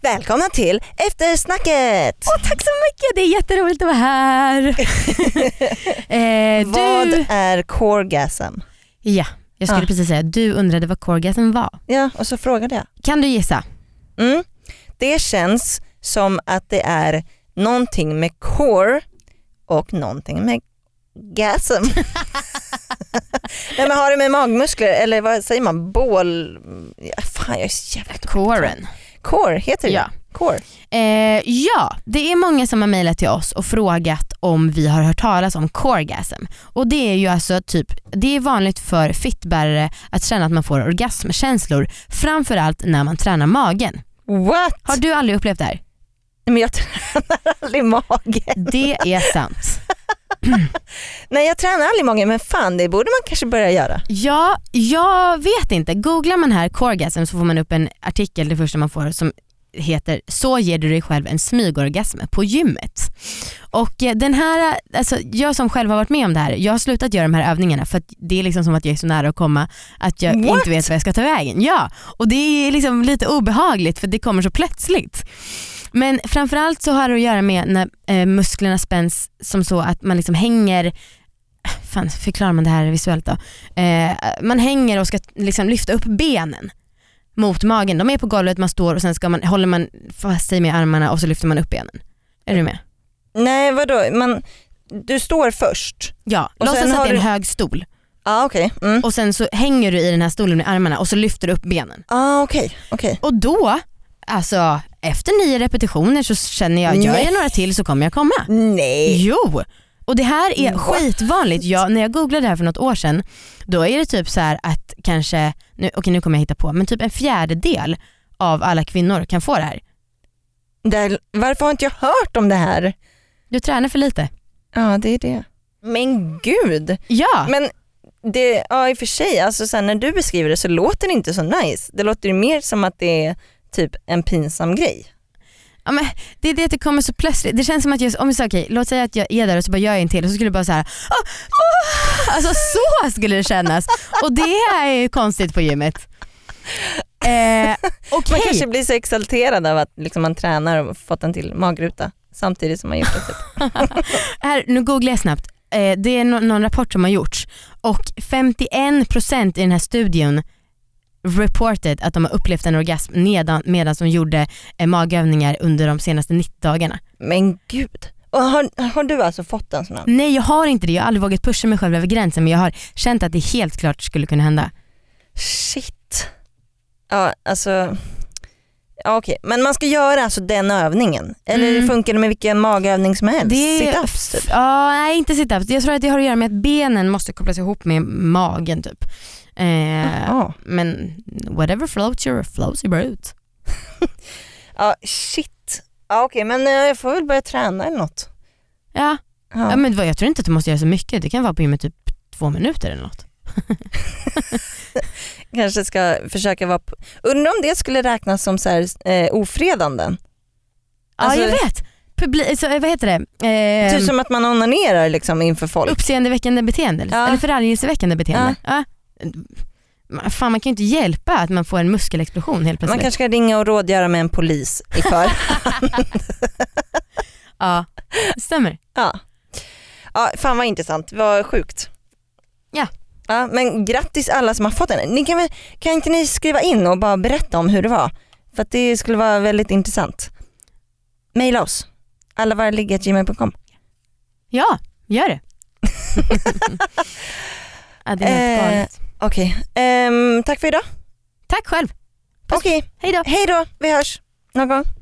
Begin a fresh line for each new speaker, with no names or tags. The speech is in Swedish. Välkomna till eftersnacket!
Åh, tack så mycket, det är jätteroligt att vara här. eh,
Vad
du,
är coregasm?
ja, jag skulle
Ja.
precis säga, du undrade vad coregasm var.
Ja, och så frågade jag.
Kan du gissa?
Mm. Det känns som att det är någonting med core och någonting med gasm. Nej, men har det med magmuskler eller vad säger man? Bål... Ja, fan jag är så jävla...
Coren.
Core heter det.
Ja.
Core.
Eh, ja, det är många som har mejlat till oss och frågat om vi har hört talas om coregasm. Och det är ju alltså typ, det är vanligt för fittbärare att känna att man får orgasmkänslor, framförallt när man tränar magen.
What?
Har du aldrig upplevt det här?
Men jag tränar aldrig magen.
Det är sant.
Nej jag tränar aldrig magen men fan det borde man kanske börja göra.
Ja, jag vet inte. Googlar man här coregasm så får man upp en artikel, det första man får, som heter “Så ger du dig själv en smygorgasm på gymmet”. Och eh, den här, alltså jag som själv har varit med om det här, jag har slutat göra de här övningarna för att det är liksom som att jag är så nära att komma att jag
What?
inte vet vad jag ska ta vägen. Ja, och det är liksom lite obehagligt för det kommer så plötsligt. Men framförallt så har det att göra med när eh, musklerna spänns som så att man liksom hänger, fan förklarar man det här visuellt då? Eh, man hänger och ska liksom lyfta upp benen mot magen. De är på golvet, man står och sen ska man, håller man fast sig med armarna och så lyfter man upp benen. Är du med?
Nej vadå, man, du står först.
Ja,
Och sen
låtsas att
har
det är en
du-
hög stol
Ja okej. Mm.
och sen så hänger du i den här stolen med armarna och så lyfter du upp benen.
Ah, okej. okej.
Och då, alltså efter nio repetitioner så känner jag, gör
Nej.
jag några till så kommer jag komma.
Nej.
Jo! Och det här är
Mm. What?
skitvanligt. Jag, när jag googlade det här för något år sedan, då är det typ så här att kanske, nu, okej nu kommer jag hitta på, men typ en fjärdedel av alla kvinnor kan få det här.
Där, varför har inte jag hört om det här?
Du tränar för lite.
Ja det är det. Men gud.
Ja,
Men det, ja i och för sig, alltså sen när du beskriver det så låter det inte så nice. Det låter ju mer som att det är typ en pinsam grej.
ja men det är det att det kommer så plötsligt. Det känns som att jag, om jag säger okej, låt säga att jag är där och så bara gör jag en till och så skulle det bara så här. "Ah, ah." alltså så skulle det kännas. Och det är ju konstigt på gymmet. Eh,
Man
okej,
kanske blir så exalterad av att liksom man tränar och fått en till magruta samtidigt som man gjort det. Typ.
här, nu googlar jag snabbt. Eh, det är nå- någon rapport som har gjorts och 51% i den här studien reported att de har upplevt en orgasm nedan, medan de gjorde eh, magövningar under de senaste 90 dagarna.
Men gud. Och har, har du alltså fått en sån här?
Nej jag har inte det, jag har aldrig vågat pusha mig själv över gränsen men jag har känt att det helt klart skulle kunna hända.
Shit. Ja alltså. Ja, okej. Men man ska göra alltså den övningen? Eller
Mm.
funkar det med vilken magövning som helst? Sit-ups typ?
Ja, nej inte situps. Jag tror att det har att göra med att benen måste kopplas ihop med magen typ. Eh,
Ja.
Men whatever floats your flows your boat.
Ja, shit. Ja, Okej, men eh, jag får väl börja träna eller något.
Ja.
Ja.
Ja, men vad- jag tror inte att du måste göra så mycket. Det kan vara på gymmet typ två minuter eller något.
Kanske ska försöka vara... På... Undrar om det skulle räknas som så här, eh, ofredanden? Alltså-
ja jag vet. Publi- så, eh, vad heter det? Eh,
Typ som att man onanerar liksom inför folk.
Uppseendeväckande beteende eller-
Ja.
eller förargelseväckande beteende. Ja. Fan man kan ju inte hjälpa att man får en muskelexplosion helt
Man
plötsligt.
kanske ska ringa och rådgöra med en polis i för.
Ja, det stämmer.
ja. ja, fan vad intressant. Vad sjukt.
Ja.
ja. Men grattis alla som har fått den. Ni kan, väl, kan inte ni skriva in och bara berätta om hur det var? För att det skulle vara väldigt intressant. Maila oss. Allavarligga.gmail.com
Ja, gör det. ja, det är helt
Eh.
galet.
Okej, ehm, tack för idag.
Tack själv.
Okej,
Hej då.
hej då. Vi hörs någon gång.